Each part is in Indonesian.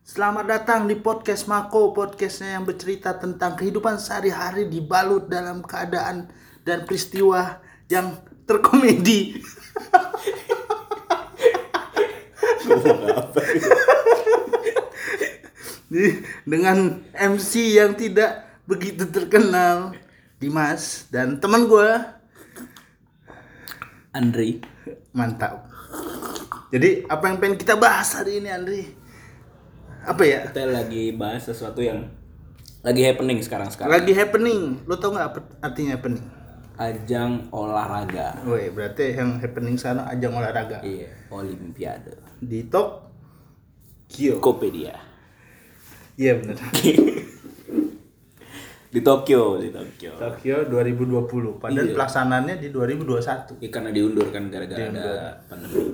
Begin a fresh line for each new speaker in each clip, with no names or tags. Selamat datang di podcast Mako, podcastnya yang bercerita tentang kehidupan sehari-hari dibalut dalam keadaan dan peristiwa yang terkomedi. Di- Dengan MC yang tidak begitu terkenal, Dimas dan teman gue
Andri
Mantap. Jadi apa yang pengen kita bahas hari ini Andri? Apa ya?
kita lagi bahas sesuatu yang lagi happening sekarang sekarang
Lagi happening. Lo tau nggak apa artinya happening?
ajang olahraga
Woi, berarti yang happening sana ajang olahraga.
iya olimpiade
Di Tokyo.
Kopedia
Iya benar.
di Tokyo di Tokyo
Tokyo 2020. Padahal pelaksanaannya di 2021.
ya, karena diundur kan gara-gara ada pandemi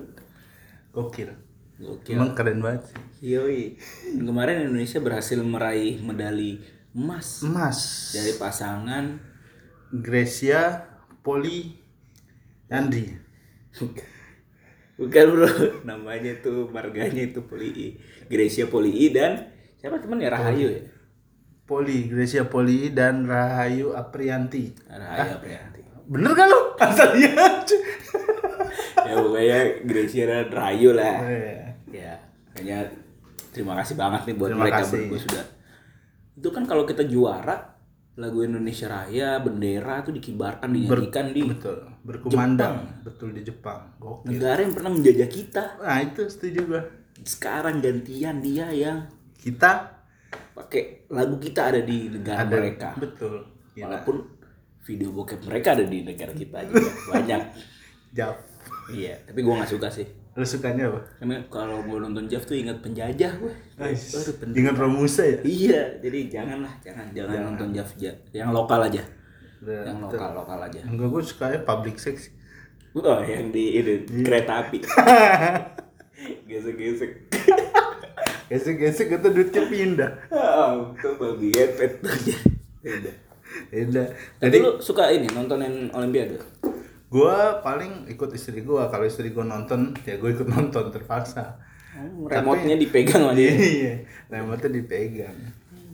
Gokil.
Oke.
Emang keren banget. sih.
Yoi. Kemarin Indonesia berhasil meraih medali emas
Emas.
dari pasangan
Gracia Poli Andri.
bukan bro namanya tuh marganya itu Polii Gracia Polii dan siapa teman ya Rahayu ya
Poli, Gracia Poli dan Rahayu Aprianti.
Rahayu Aprianti
Bener kan lo? Asalnya.
ya pokoknya Gracia dan Rahayu lah
Eh,
ya hanya terima kasih banget nih buat
Terima
mereka
kasih.
berdua sudah itu kan kalau kita juara lagu Indonesia Raya bendera tuh dikibarkan dinyanyikan di
betul. Berkumandang. Betul di Jepang. Gokil.
negara yang pernah menjajah kita
Nah itu setuju gua.
sekarang gantian dia yang
Kita
pakai lagu kita ada di negara mereka
betul. Ya.
walaupun video bokep mereka ada di negara kita juga banyak
Jawab.
iya tapi gua nggak suka sih
Lu sukanya apa?
karena kalau mau nonton Jeff tuh ingat penjajah gue Aduh, pen-
Dengan Romusa ya?
Iya, jadi janganlah, jangan, jangan, nonton Jav Ja- yang lokal aja, yang
Betul.
lokal lokal aja.
Enggak, gue sukanya public sex.
Oh, yang di ini, kereta api. Gesek-gesek.
Gesek-gesek itu duitnya pindah.
Oh, itu babi ngepet aja. Udah.
Pindah. Jadi
Jadi lu suka ini nontonin Olimpiade?
gue paling ikut istri gue. Kalau istri gue nonton, ya gue ikut nonton terpaksa.
Remote-nya dipegang aja.
Iya. Remote dipegang.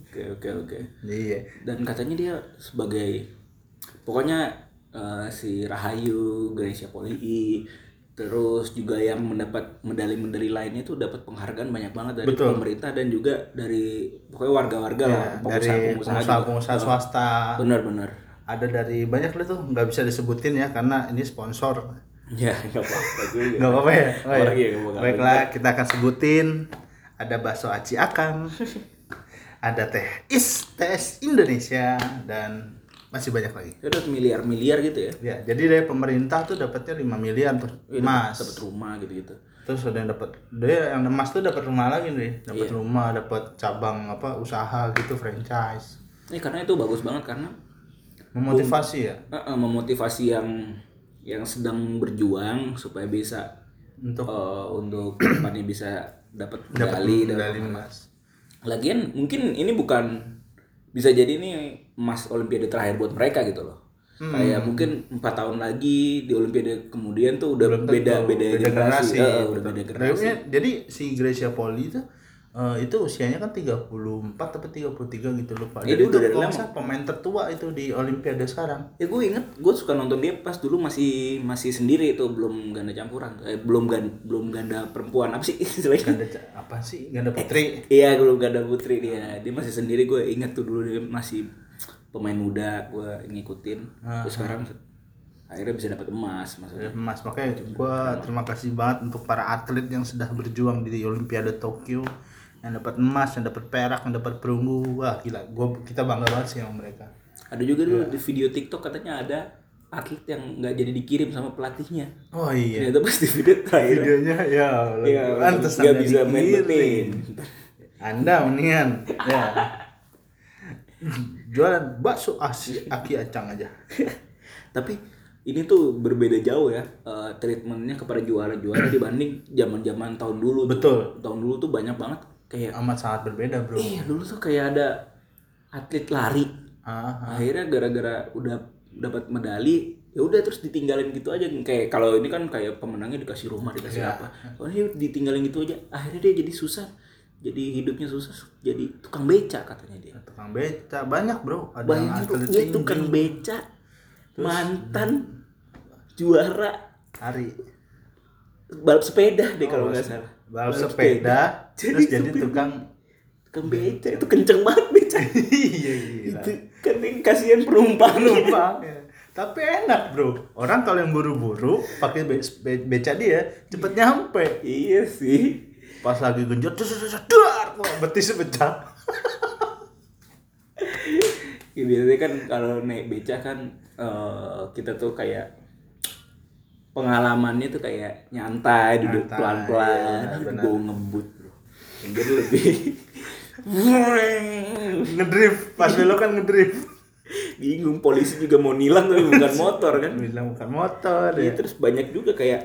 Oke, oke, oke.
Iya.
Dan katanya dia sebagai pokoknya eh, si Rahayu, Gracia Poli, terus juga yang mendapat medali-medali lainnya itu dapat penghargaan banyak banget dari
Betul. Iya,
pemerintah dan juga dari pokoknya warga-warga lah,
Ya, Dari
pengusaha-pengusaha juga.
pengusaha-pengusaha swasta.
Bener-bener.
Ada dari banyak lah tuh. Nggak bisa disebutin ya karena ini sponsor.
Ya, nggak apa-apa juga.
Gak apa-apa ya? Oh, ya.
Orang iya, gak apa-apa.
Baiklah, kita akan sebutin ada bakso aci akam, ada teh is tes Indonesia dan masih banyak lagi.
Ya udah miliar-miliar gitu ya.
Ya, jadi dari pemerintah tuh dapatnya 5 miliar tuh
Iya,
emas.
Dapat rumah gitu-gitu.
Terus ada yang dapat dia yang emas tuh dapat rumah lagi
Iya.
nih, dapat rumah, dapat cabang apa usaha gitu franchise.
Ini karena itu bagus banget karena
Memotivasi ya
Eh, eh, memotivasi yang yang sedang berjuang supaya bisa
untuk
eh, untuk kedepannya bisa dapat medali dan
medali emas.
lagian mungkin ini bukan bisa jadi ini emas olimpiade terakhir buat mereka gitu loh kayak mungkin empat tahun lagi di olimpiade kemudian tuh udah beda beda,
beda generasi.
generasi, Eh, eh, udah beda generasi
Kayaknya- jadi si Gracia Poli itu eh, itu usianya kan 34 atau 33 gitu lupa. Jadi
Iya, dia udah
itu
dari
kalau
lama.
nggak salah pemain tertua itu di Olimpiade sekarang.
ya gue inget gue suka nonton dia pas dulu masih masih sendiri tuh belum ganda campuran eh, belum ganda, belum ganda perempuan apa sih istilahnya
Ganda ca- apa sih? Ganda putri.
Iya, belum gak ada putri dia. Dia masih sendiri. Gue ingat tuh dulu dia masih pemain muda. Gue ngikutin. Terus sekarang akhirnya bisa dapat emas maksudnya.
Mas, makanya gua terima kasih banget untuk para atlet yang sudah berjuang di Olimpiade Tokyo yang dapat emas, yang dapat perak, yang dapat perunggu. Wah, gila. Gua kita bangga banget sih sama mereka.
Ada juga dulu di video TikTok katanya ada atlet yang nggak jadi dikirim sama pelatihnya.
Oh iya.
Ternyata pas di video terakhir.
Videonya ya Allah.
Iya,
Pantesan
nggak
jadi
bisa main-main.
Anda mendingan ya. Jualan bakso asi aki acang aja.
Tapi ini tuh berbeda jauh ya eh, treatmentnya kepada juara-juara dibanding zaman-zaman tahun dulu. tuh.
Betul.
Tahun dulu tuh banyak banget kayak
Amat sangat berbeda, Bro.
iya dulu tuh kayak ada atlet lari
Ah,
akhirnya gara-gara udah dapat medali ya udah terus ditinggalin gitu aja kayak kalau
Iya.
Oh, ini kan kayak pemenangnya dikasih rumah dikasih apa kalau ini ditinggalin gitu aja akhirnya dia jadi susah jadi hidupnya susah jadi tukang beca katanya dia
tukang beca banyak bro ada yang
banyak tuh
atlet
iya
tinggi,
tukang beca mantan juara
lari
balap sepeda deh kalau nggak salah
Oh, balap sepeda terus jadi tukang
tukang beca itu kenceng banget beca
iya gila
itu kan yang kasihan penumpang
Lupa. tapi enak bro orang kalau yang buru-buru pakai be- be- beca dia cepet nyampe
iya sih
pas lagi genjot dus, dus, dus, duar, wah, betis pecah
Ya, biasanya kan kalau naik beca kan eh, kita tuh kayak pengalamannya tuh kayak nyantai duduk
Nyantai,
pelan-pelan
iya, benar.
gue ngebut bro yang jadi lebih
ngedrift pas belok kan ngedrift
bingung polisi juga mau nilang tapi bukan motor kan
bilang bukan motor ya.
Iya, terus banyak juga kayak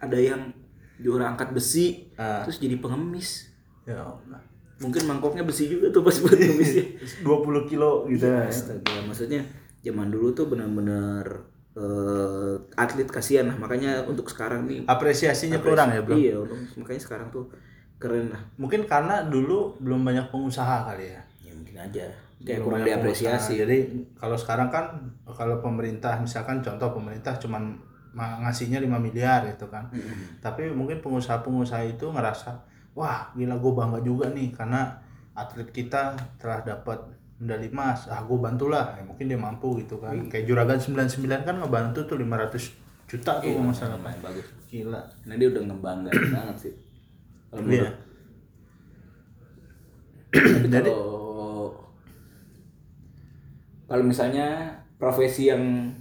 ada yang juara angkat besi
Ah.
terus jadi pengemis
ya Allah.
mungkin mangkoknya besi juga tuh pas buat ya. ngemisnya
20 kilo gitu ya.
Astaga, maksudnya zaman dulu tuh benar-benar eh, atlet kasihan lah. Makanya untuk sekarang nih
apresiasinya kurang ya bro
Iya, untuk- makanya sekarang tuh keren lah.
mungkin karena dulu belum banyak pengusaha kali ya
Ya mungkin aja. Kayak
Belum
Iya, kurang
banyak
diapresiasi.
pengusaha. jadi kalau sekarang kan kalau pemerintah misalkan contoh pemerintah cuman ma- ngasihnya 5 miliar gitu kan
Hmm.
tapi mungkin pengusaha-pengusaha itu ngerasa wah gila gue bangga juga nih karena atlet kita telah dapat medali emas ah gue bantulah Ya, mungkin dia mampu gitu kan
Iya.
kayak juragan 99 kan ngebantu tuh 500 juta tuh
Iya.
kalau nggak salah
Lumayan bagus.
gila
Karena dia udah ngebanggain banget sih. Kalau menurut
Iya.
Tapi kalau kalau misalnya profesi yang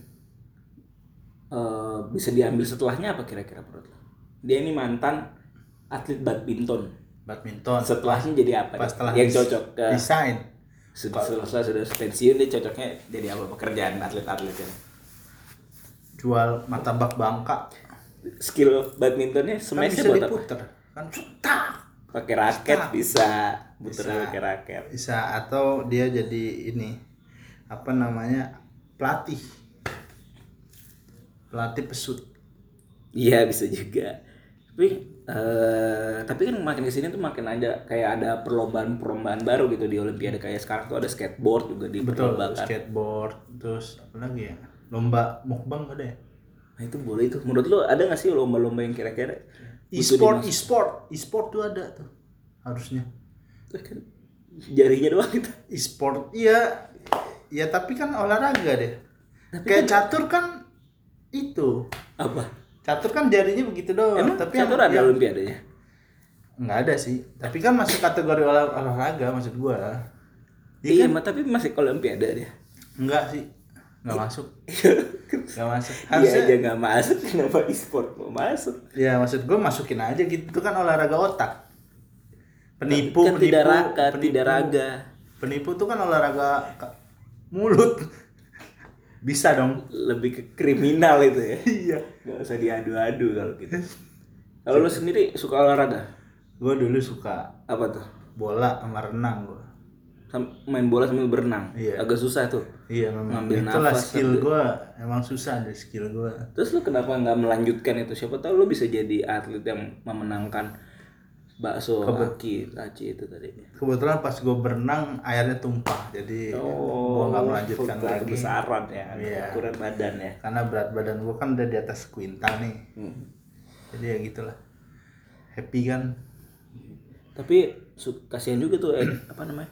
eh, bisa diambil setelahnya apa kira-kira menurut lo? Dia ini mantan atlet badminton.
badminton
Setelahnya jadi apa?
pas setelah
yang
dis-
cocok ya. ke
desain
sudah setelah sudah pensiun dia cocoknya jadi apa pekerjaan atlet-atlet ya? yang
jual martabak bangka
skill badmintonnya
kan
semesnya
bisa
buat apa?
diputer kan tak
Pakai raket bisa, muter
Bisa.
pakai raket.
bisa atau dia jadi ini apa namanya pelatih pelatih pesut
Iya bisa juga. Tapi eh, tapi kan makin kesini tuh makin ada kayak ada perlombaan-perlombaan baru gitu di Olimpiade kayak sekarang tuh ada skateboard juga di
betul
perlombaan.
skateboard terus apa lagi ya lomba mukbang ada ya
Nah itu boleh tuh. Menurut lo ada nggak sih lomba-lomba yang kira-kira butuh
e-sport e-sport e-sport tuh ada tuh harusnya
dimasukkan? Kan jarinya doang gitu.
e-sport iya ya tapi kan olahraga deh kayak catur kan itu
Apa?
catur kan jarinya begitu doang
Emang
tapi yang-
catur ada
yang-
Olimpiadenya?
nggak ada sih tapi kan masuk kategori olah- olahraga maksud gua kan?
Iya, mah, tapi masih Olimpiade dia.
Enggak sih. Enggak masuk. Enggak masuk. Harusnya
Iya aja nggak masuk kenapa e-sport mau masuk?
ya maksud gue masukin aja gitu Itu kan olahraga otak. Penipu,
kan
penipu,
tidak raka,
penipu.
tidak raga.
Penipu tuh kan olahraga ka- mulut. Bisa dong.
Lebih ke kriminal itu ya.
Iya.
Gak usah diadu-adu kalau gitu. Kalau lu sendiri suka olahraga?
Gue dulu suka
Apa tuh?
bola sama renang gue.
Sam- main bola sambil berenang.
Iya.
Agak susah tuh.
Iya memang
Ngambil
itulah
nafas
skill gue emang susah deh skill gue.
Terus lu kenapa nggak melanjutkan itu? Siapa tahu lu bisa jadi atlet yang memenangkan bakso kaki laci itu tadi.
Kebetulan pas gue berenang airnya tumpah jadi
Oh,
gue Iya. nggak melanjutkan
untuk
lagi
kebesaran ya, untuk
Iya.
ukuran badan ya.
karena berat badan gue kan udah di atas kuintal nih
Hmm.
jadi ya gitulah happy kan
Tapi su- kasihan juga tuh eh, apa namanya?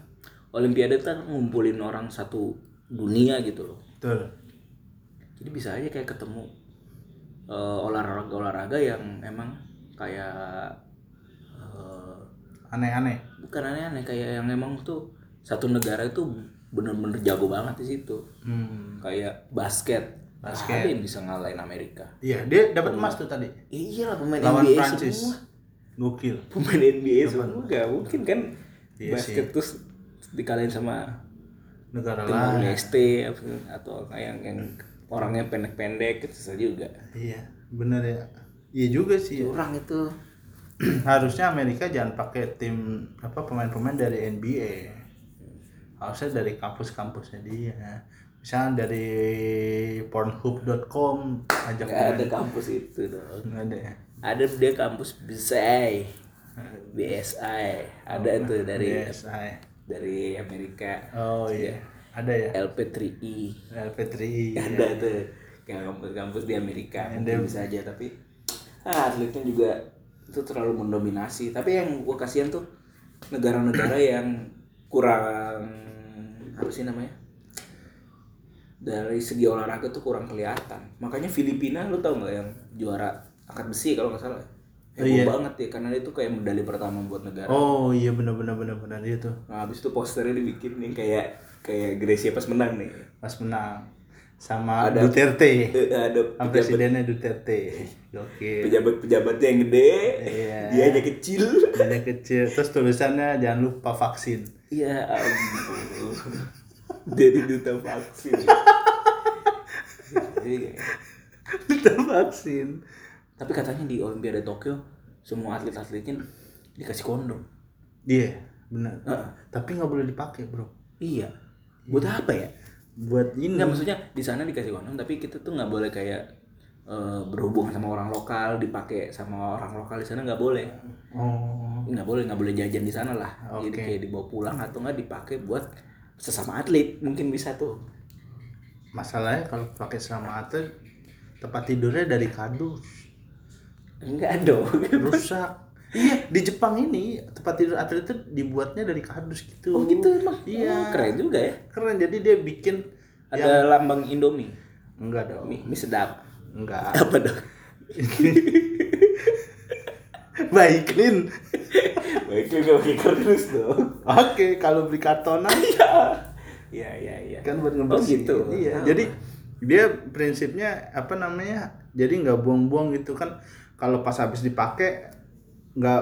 Olimpiade tuh kan ngumpulin orang satu dunia gitu loh.
betul
jadi bisa aja kayak ketemu eh, olahraga-olahraga yang emang kayak eh,
aneh-aneh
bukan aneh-aneh kayak yang emang tuh satu negara itu bener-bener jago banget di situ
hmm.
kayak basket
Basket.
ada yang bisa ngalahin Amerika
iya dia dapat emas tuh tadi
iya lah pemain
lawan
NBA
Prancis
semua
gokil
pemain NBA semua gak mungkin kan
Iya
basket terus dikalahin sama
negara
Timor
lain
Leste apa- atau kayak yang orangnya pendek-pendek itu susah juga
iya bener ya iya juga sih ya.
curang itu
harusnya Amerika jangan pakai tim apa pemain-pemain dari NBA harusnya dari kampus-kampusnya dia misalnya dari pornhub.com ajak
Gak ada
pemain.
kampus itu dong.
nggak ada ya
Ada dia kampus Bisai. BSI ada tuh dari
BSI.
dari Amerika
ya? Oh iya. Ada ya. Iya.
LP3I
LP3.
ada tuh kayak kampus-kampus di Amerika mungkin bisa aja tapi ah, atletnya juga itu terlalu mendominasi tapi yang gua kasihan tuh negara-negara yang kurang apa sih namanya dari segi olahraga tuh kurang kelihatan makanya Filipina lu tau nggak yang juara angkat besi kalau nggak salah
Oh, iya.
heboh banget ya karena itu kayak medali pertama buat negara
Oh iya benar benar benar benar Iya itu.
nah habis itu posternya dibikin nih kayak kayak Gracia pas menang nih
Pas menang sama Duterte.
Eh, ada
Sama presidennya Duterte. Oke.
pejabat-pejabatnya yang gede,
Iya.
dia aja kecil.
Ada kecil terus tulisannya jangan lupa vaksin.
Ya ampun. Iya, Jadi duta vaksin. Jadi,
Lupa vaksin.
iya. Tapi katanya di Olimpiade Tokyo semua atlet-atletnya dikasih kondom.
Iya, benar.
Heeh.
Tapi nggak boleh dipakai, Bro.
Iya. Buat apa ya?
Buat ini
Enggak maksudnya di sana dikasih kondom tapi kita tuh nggak boleh kayak eh, berhubungan sama orang lokal dipakai sama orang lokal di sana nggak boleh
Oh.
nggak boleh nggak boleh jajan di sana lah jadi
Oke.
kayak dibawa pulang atau nggak dipakai buat sesama atlet mungkin bisa tuh
Masalahnya kalau pakai sama atlet tempat tidurnya dari kardus.
enggak dong
rusak iya di Jepang ini tempat tidur atlet itu dibuatnya dari kardus gitu
oh gitu emang
iya
Oh, keren juga ya
keren jadi dia bikin
ada lambang Indomie
enggak dong
mie, mie sedap
enggak
apa dong
baiklin
baiknya nggak pakai kardus dong
oke kalau beli kartonan
iya iya iya
kan buat
oh
ngebersihin
gitu
iya
Ah.
jadi dia prinsipnya apa namanya jadi nggak buang-buang gitu kan kalau pas habis dipakai nggak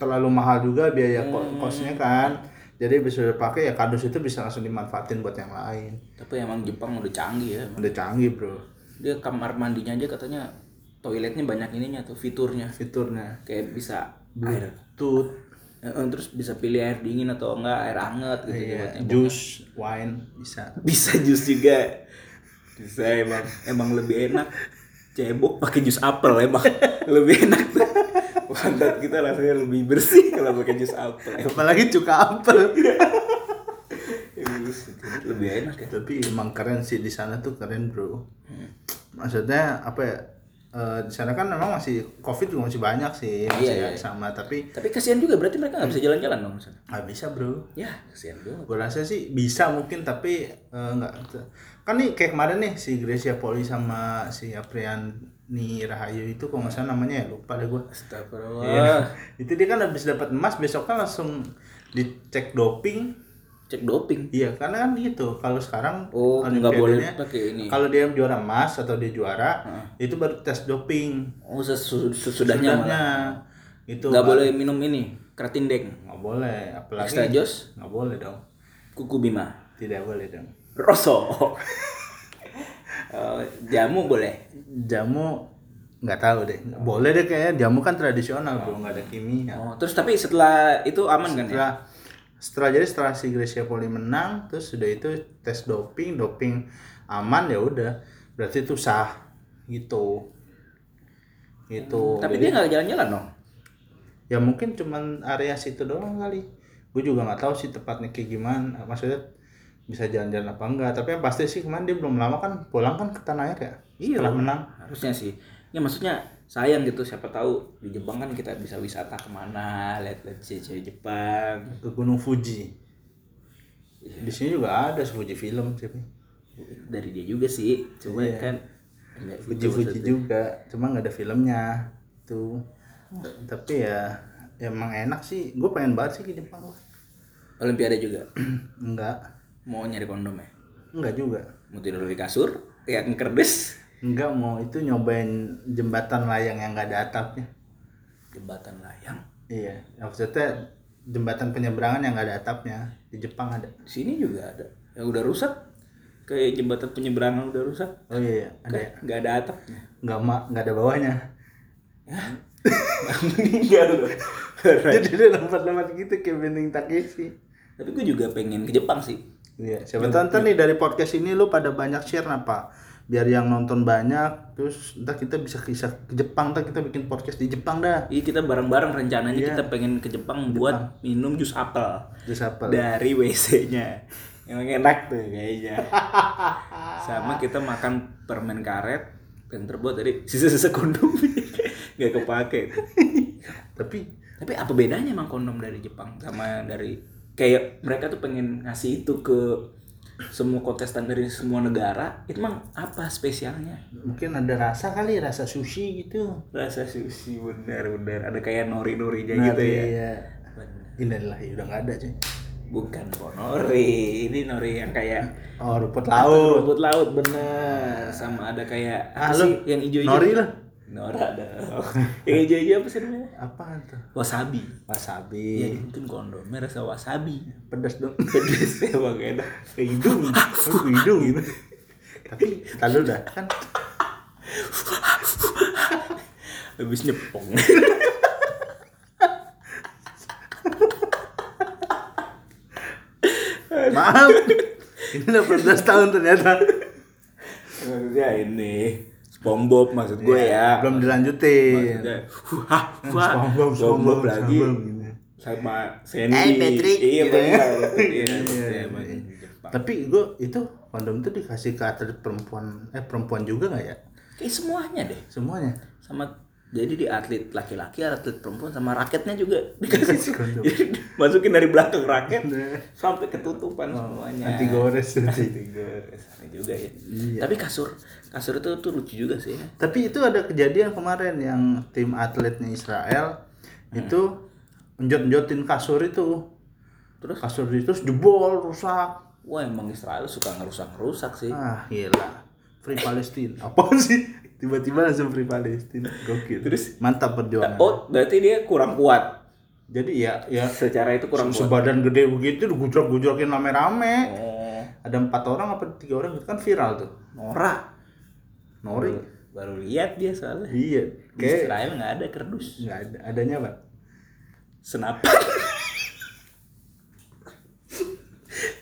terlalu mahal juga biaya ko-
Hmm.
kosnya kan jadi habis udah pakai ya kardus itu bisa langsung dimanfaatin buat yang lain
tapi emang Jepang udah canggih ya emang.
udah canggih bro
dia kamar mandinya aja katanya toiletnya banyak ininya tuh fiturnya
fiturnya
kayak bisa air
bluetooth
Eh, eh, terus bisa pilih air dingin atau enggak air anget gitu
iya,
buatnya.
jus wine bisa
bisa jus juga bisa emang emang lebih enak cebok pakai jus apel emang lebih enak pantat kita rasanya lebih bersih kalau pakai jus apel
apalagi cuka apel
lebih enak ya
tapi emang keren sih di sana tuh keren bro
Hmm.
maksudnya apa ya eh, di sana kan memang masih covid juga masih banyak sih masih
iya,
nggak sama tapi
tapi kasihan juga berarti mereka nggak bisa jalan-jalan dong misalnya
nggak bisa bro
ya kasihan banget
gue rasa sih bisa mungkin tapi eh, nggak kan nih kayak kemarin nih si Gracia Poli sama si Apriani Rahayu itu kok nggak salah namanya ya lupa deh gue
Astagfirullah
itu dia kan habis dapat emas besoknya langsung dicek doping
cek doping
Iya, karena kan gitu. Kalau sekarang
Oh, nggak boleh
Olimpiadenya,
pakai ini.
Kan Kalau dia juara emas atau dia juara, itu baru tes doping.
oh sesu- sesudahnya malah
itu
nggak
Pak.
boleh minum ini keratin deng
Nggak boleh, apalagi
extra jos
nggak boleh dong.
kuku bima
Tidak boleh dong.
Rosso. Eh, jamu boleh.
Jamu nggak tahu deh. Boleh deh kayaknya. Jamu kan tradisional, Bro, nggak ada kimia.
Oh, terus tapi setelah itu aman kan ya?
Setelah setelah jadi setelah si Gracia Poli menang, terus sudah itu tes doping, doping aman ya udah. Berarti itu sah gitu. Gitu.
Oh, Tapi dia nggak jalan-jalan dong.
ya mungkin cuman area situ doang kali gue juga nggak tahu sih tepatnya kayak gimana maksudnya bisa jalan-jalan apa enggak tapi yang pasti sih kemarin dia belum lama kan pulang kan ke tanah air ya
Iya.
setelah menang
Harusnya sih. Ya maksudnya sayang gitu siapa tahu di Jepang kan kita bisa wisata kemana lihat-lihat cewek Jepang
ke Gunung Fuji di sini juga ada Fuji film sih
dari dia juga sih cuma kan nggak
Fuji Fuji juga cuma nggak ada filmnya tuh tapi ya emang enak sih gue pengen banget sih ke Jepang
Olimpiade juga
enggak
mau nyari kondom ya
enggak juga
mau tidur di kasur ya kerdes
enggak mau itu nyobain jembatan layang yang nggak ada atapnya
jembatan layang
Iya, maksudnya jembatan penyeberangan yang nggak ada atapnya di Jepang ada.
di sini juga ada yang udah rusak kayak jembatan penyeberangan udah rusak
Oh iya, iya, ada. ya?
nggak ada atapnya
Nggak ma, nggak ada bawahnya.
meninggal
Jadi dia lompat-lompat gitu kayak Bening Takeshi.
tapi gue juga pengen ke Jepang sih
Iya, siapa tahu ntar nih dari podcast ini lu pada banyak share apa biar yang nonton banyak terus ntar kita bisa kisah ke Jepang ntar kita bikin podcast di Jepang dah
Iya kita bareng-bareng rencananya
Iya.
kita pengen ke Jepang buat minum jus apel
terus apa
dari WC-nya. Emang enak tuh kayaknya. Sama kita makan permen karet yang terbuat dari sisa-sisa kondom. Gak kepake. tuh.
tapi
Tapi apa bedanya emang kondom dari Jepang sama dari kayak mereka tuh pengen ngasih itu ke semua kontestan dari semua negara. Itu emang apa spesialnya?
mungkin ada rasa kali rasa sushi gitu
Rasa sushi bener-bener ada kayak nori-norinya gitu
Nari,
ya.
ya.
Bener.
Innalillahi, iya, udah nggak ada cuy
Bukan ponori, ini nori yang kayak
oh rumput laut
rumput laut bener sama ada kayak apa
Ah,
sih
lu
yang hijau-hijau?
nori lah.
Nora ada. yang hijau-hijau apa sih namanya?
apaan tuh gitu.
Wasabi. Iya,
wasabi
mungkin kondomnya rasa wasabi.
pedas dong
Pedes emang enak. gitu.
ke hidung ke hidung gitu tapi kalau udah kan
Habis nyepong.
maaf ini udah 14 tahun ternyata
Maksudnya ini SpongeBob maksud gue
Iya,
ya.
belum dilanjutin
Maksudnya, wah, wah,
Iya. SpongeBob,
SpongeBob
SpongeBob
lagi
SpongeBob gitu.
sama Sandy.
Eh, Patrick,
Iya
gitu ya.
benar. Iya,
Iya,
maksudnya
iya.
emang gitu, Jepang.
tapi gue itu kondom itu dikasih ke atlet perempuan eh perempuan juga nggak ya
Kayak semuanya deh.
semuanya
Sama jadi di atlet laki-laki, atlet perempuan sama raketnya juga dikasih
Dikasih kondom.
Jadi, masukin dari belakang raket
Nah.
sampai ketutupan semuanya.
Oh, anti gores
Anti gores. Aneh juga ya.
Iya.
Tapi kasur kasur itu tuh lucu juga sih ya.
tapi itu ada kejadian kemarin yang tim atletnya Israel itu njot-njotin kasur itu
Terus?
kasur itu terus jebol rusak
Wah emang Israel suka ngerusak-ngerusak sih.
ah
Iya.
gila free Palestine apa sih tiba-tiba langsung free Palestine gokil
Terus?
mantap perjuangan
Oh, berarti dia kurang kuat.
jadi ya ya
Secara itu kurang kuat.
sebadan gede begitu digujrok-gujrokin rame-rame
Oh,
ada empat orang apa tiga orang gitu kan viral tuh
Nora.
Nori
Hmm. Baru lihat dia soalnya.
iya
Di
kayak
Israel nggak ada kerdus.
nggak ada adanya apa
Senapan.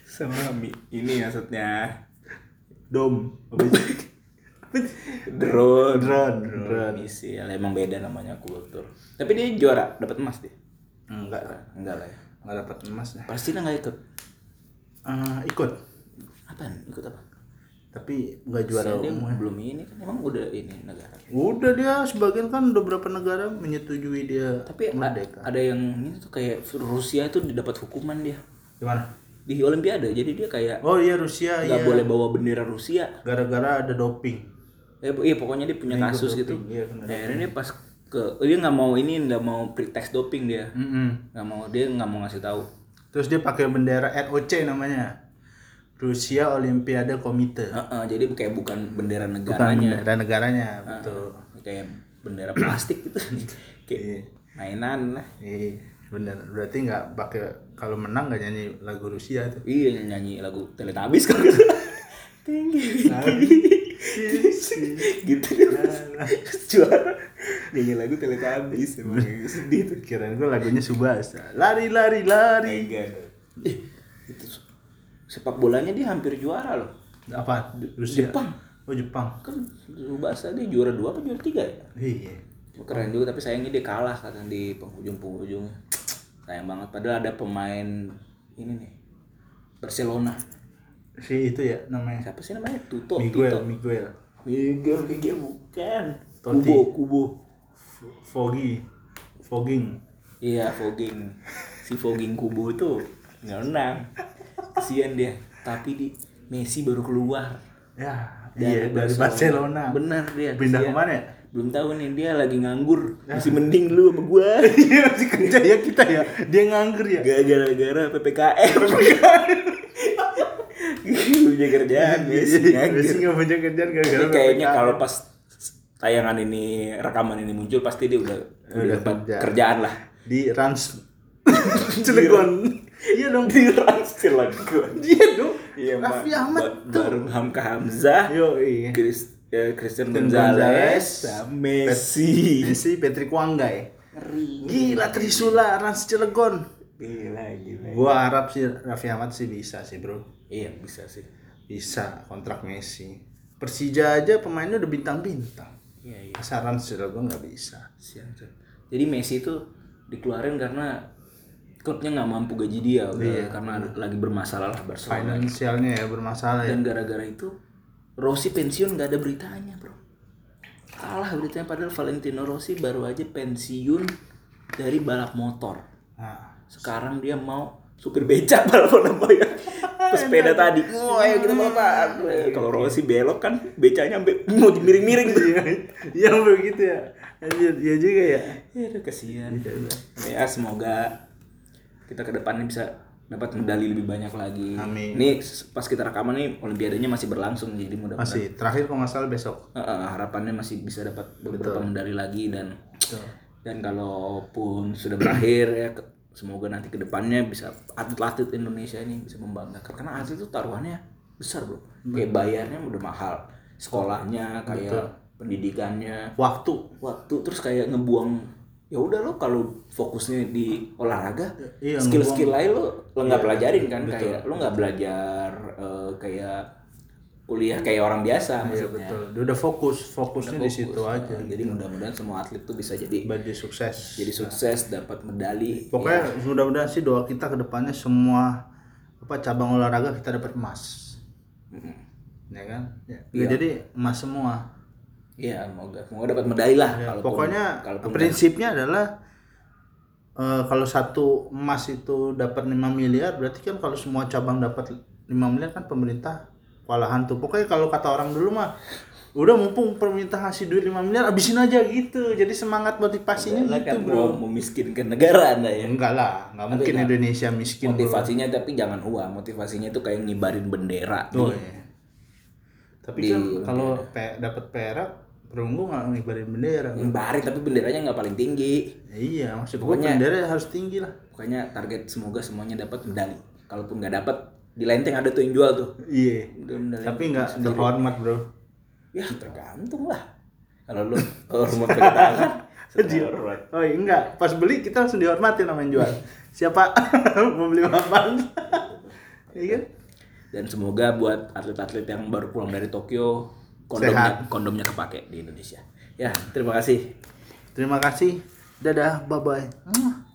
Sama mi- ini maksudnya
dom
drone.
Drone, drone.
drone. Misil. Emang beda namanya kultur. Tapi dia juara, dapat emas dia.
enggak lah
Enggak lah ya.
nggak dapat emas lah
Palestina nggak ikut.
Eh, ikut
Apaan? Ikut apa?
tapi nggak juara
Dia
umum
belum ini kan emang udah ini negara.
udah dia sebagian kan udah beberapa negara menyetujui dia
Tapi a-
merdeka
ada yang ini tuh kayak Rusia itu dapat hukuman dia
gimana
di Olimpiade. Jadi dia kayak
oh iya Rusia
nggak
iya
boleh bawa bendera Rusia.
gara-gara ada doping
Eh, iya pokoknya dia punya kasus gitu.
doping, iya, kena
Akhirnya dia pas ke oh, dia nggak mau ini nggak mau pretext doping dia.
Mm-mm.
Nggak mau dia nggak mau ngasih tahu.
terus dia pakai bendera ROC namanya Rusia Olimpiade Komite
Heeh, jadi kayak bukan bendera
bukan
negaranya.
bendera negaranya Ah. betul
Kayak bendera plastik gitu. kayak
Iya.
mainan lah.
Iya, bener. Berarti nggak pakai kalau menang nggak nyanyi lagu Rusia tuh.
Iya nyanyi lagu Teletubbies kan. Tinggi.
Nah, iya,
gitu juara nyanyi lagu Teletubbies emang sedih tuh.
Kirain gue lagunya Subasa. Lari lari lari.
Eh, itu se- sepak bolanya dia hampir juara loh.
Apa? Rusia.
Jepang.
Oh Jepang.
Kan Tsubasa dia juara dua apa juara tiga ya?
Iya.
Keren juga tapi sayangnya dia kalah katanya di penghujung-penghujung. Sayang banget padahal ada pemain ini nih. Barcelona.
Si itu ya namanya.
Siapa sih namanya? Tuto.
Miguel,
Tito.
Miguel.
Miguel, Miguel bukan.
Totti.
Kubo, Kubo.
F- Foggy. Fogging.
Iya, fogging. Si fogging Kubo tuh nggak menang. Kesian dia. Tapi di Messi baru keluar.
Ya, iya dari Barcelona.
Benar dia.
Pindah
kesian.
kemana ya?
Belum tahu nih dia lagi nganggur. Masih mending lu sama gua.
Iya masih kerja ya kita ya. Dia nganggur ya.
Gara-gara PPKM. Gak punya kerjaan,
Iya,
Messi nganggur.
Messi nggak punya kerjaan gara-gara
Tapi kayaknya
PPKM.
kalau pas tayangan ini rekaman ini muncul pasti dia udah udah,
Udah
dapat
kerja.
kerjaan lah.
di Rans Cilegon. Iya dong.
Di Cilegon.
Iya dong.
Iya, Mbak.
Raffi Ahmad
Ba- Bareng Hamka Hamzah,
Yo iya.
Chris, eh, Christian
Dan Gonzalez,
Gonzalez, sama Messi.
Messi Patrick Wanggai.
Ngeri.
Gila Trisula Rans Cilegon.
Gila, gila.
Gua harap sih Raffi Ahmad sih bisa sih, Bro.
Iya, bisa sih.
Bisa kontrak Messi. Persija aja pemainnya udah bintang-bintang.
Iya, iya.
Saran secara gue nggak bisa.
Sian, Cep. Jadi Messi itu dikeluarin karena klubnya nggak mampu gaji dia udah, ya, karena lagi bermasalah lah Barcelona.
Finansialnya ya bermasalah ya.
Dan gara-gara itu Rossi pensiun nggak ada beritanya, Bro. Kalah beritanya padahal Valentino Rossi baru aja pensiun dari balap motor.
Nah,
Sekarang dia mau supir becak balap apa ya? Pesepeda tadi. Oh, ayo kita balapan. Eh, Kalau Rossi belok kan becaknya sampai mau miring-miring.
Iya begitu ya. Anjir, iya juga ya.
Ya aduh, kasihan.
Iya,
Ya semoga kita ke depannya bisa dapat medali lebih banyak lagi.
Amin.
Nih s- pas kita rekaman nih olimpiadanya masih berlangsung jadi mudah-mudahan
Masih terakhir kalau nggak salah besok.
Eh, eh, harapannya masih bisa dapat beberapa medali lagi dan
Betul.
dan kalaupun sudah berakhir ya ke- semoga nanti ke depannya bisa atlet-atlet Indonesia ini bisa membanggakan karena atlet itu taruhannya besar, Bro.
Hmm.
Kayak bayarnya udah mahal. Sekolahnya kayak pendidikannya
Waktu.
waktu terus kayak ngebuang ya udah lo kalau fokusnya di olahraga
Iya,
skill skill lain lo lo nggak pelajarin kan kayak lo nggak belajar eh, kayak kuliah kayak orang biasa
Iya
maksudnya
betul. Dia udah fokus, fokusnya di situ aja.
jadi mudah-mudahan semua atlet tuh bisa jadi
Biar dia sukses.
Iya. jadi sukses dapat medali Iya.
Pokoknya mudah-mudahan sih doa kita ke depannya semua apa cabang olahraga kita dapat emas.
Mm-mm.
Ya kan? Ya. Jadi emas semua.
Iya, semoga semoga dapat medali lah
Ya,
Nah, kalaupun-
pokoknya
kalaupun
prinsipnya adalah eh, kalau satu emas itu dapat 5 miliar, berarti kan kalau semua cabang dapat 5 miliar kan pemerintah kewalahan tuh. Pokoknya kalau kata orang dulu mah udah mumpung pemerintah ngasih duit 5 miliar abisin aja gitu. Jadi semangat motivasinya
Anda kan
gitu,
mau
Bro.
memiskinkan negara anda ya
Enggak lah, nggak mungkin
nggak-
Indonesia miskin. Bro.
motivasinya tapi jangan uang motivasinya itu kayak ngibarin bendera gitu.
Oh, iya. Tapi
Di-
kan kalau
iya.
pe dapat perak, perunggu nggak ngibarin bendera.
ngibarin tapi benderanya nggak paling tinggi
Ya iya, maksud gua bendera harus tinggi lah.
Pokoknya target semoga semuanya dapat medali. Kalaupun nggak dapat, di lenteng ada tuh yang jual tuh.
Iya.
Udah medali.
Tapi nggak terhormat bro.
Ya tergantung lah. Kalau lu hormat pakai tangan, setelah hormat.
Oh iya, enggak, pas beli kita langsung dihormati sama yang jual. Siapa mau beli apaan? Iya kan?
Dan semoga buat atlet-atlet yang baru pulang dari Tokyo kondomnya kondomnya kepake di Indonesia. Ya, terima kasih.
Terima kasih. Dadah, bye bye.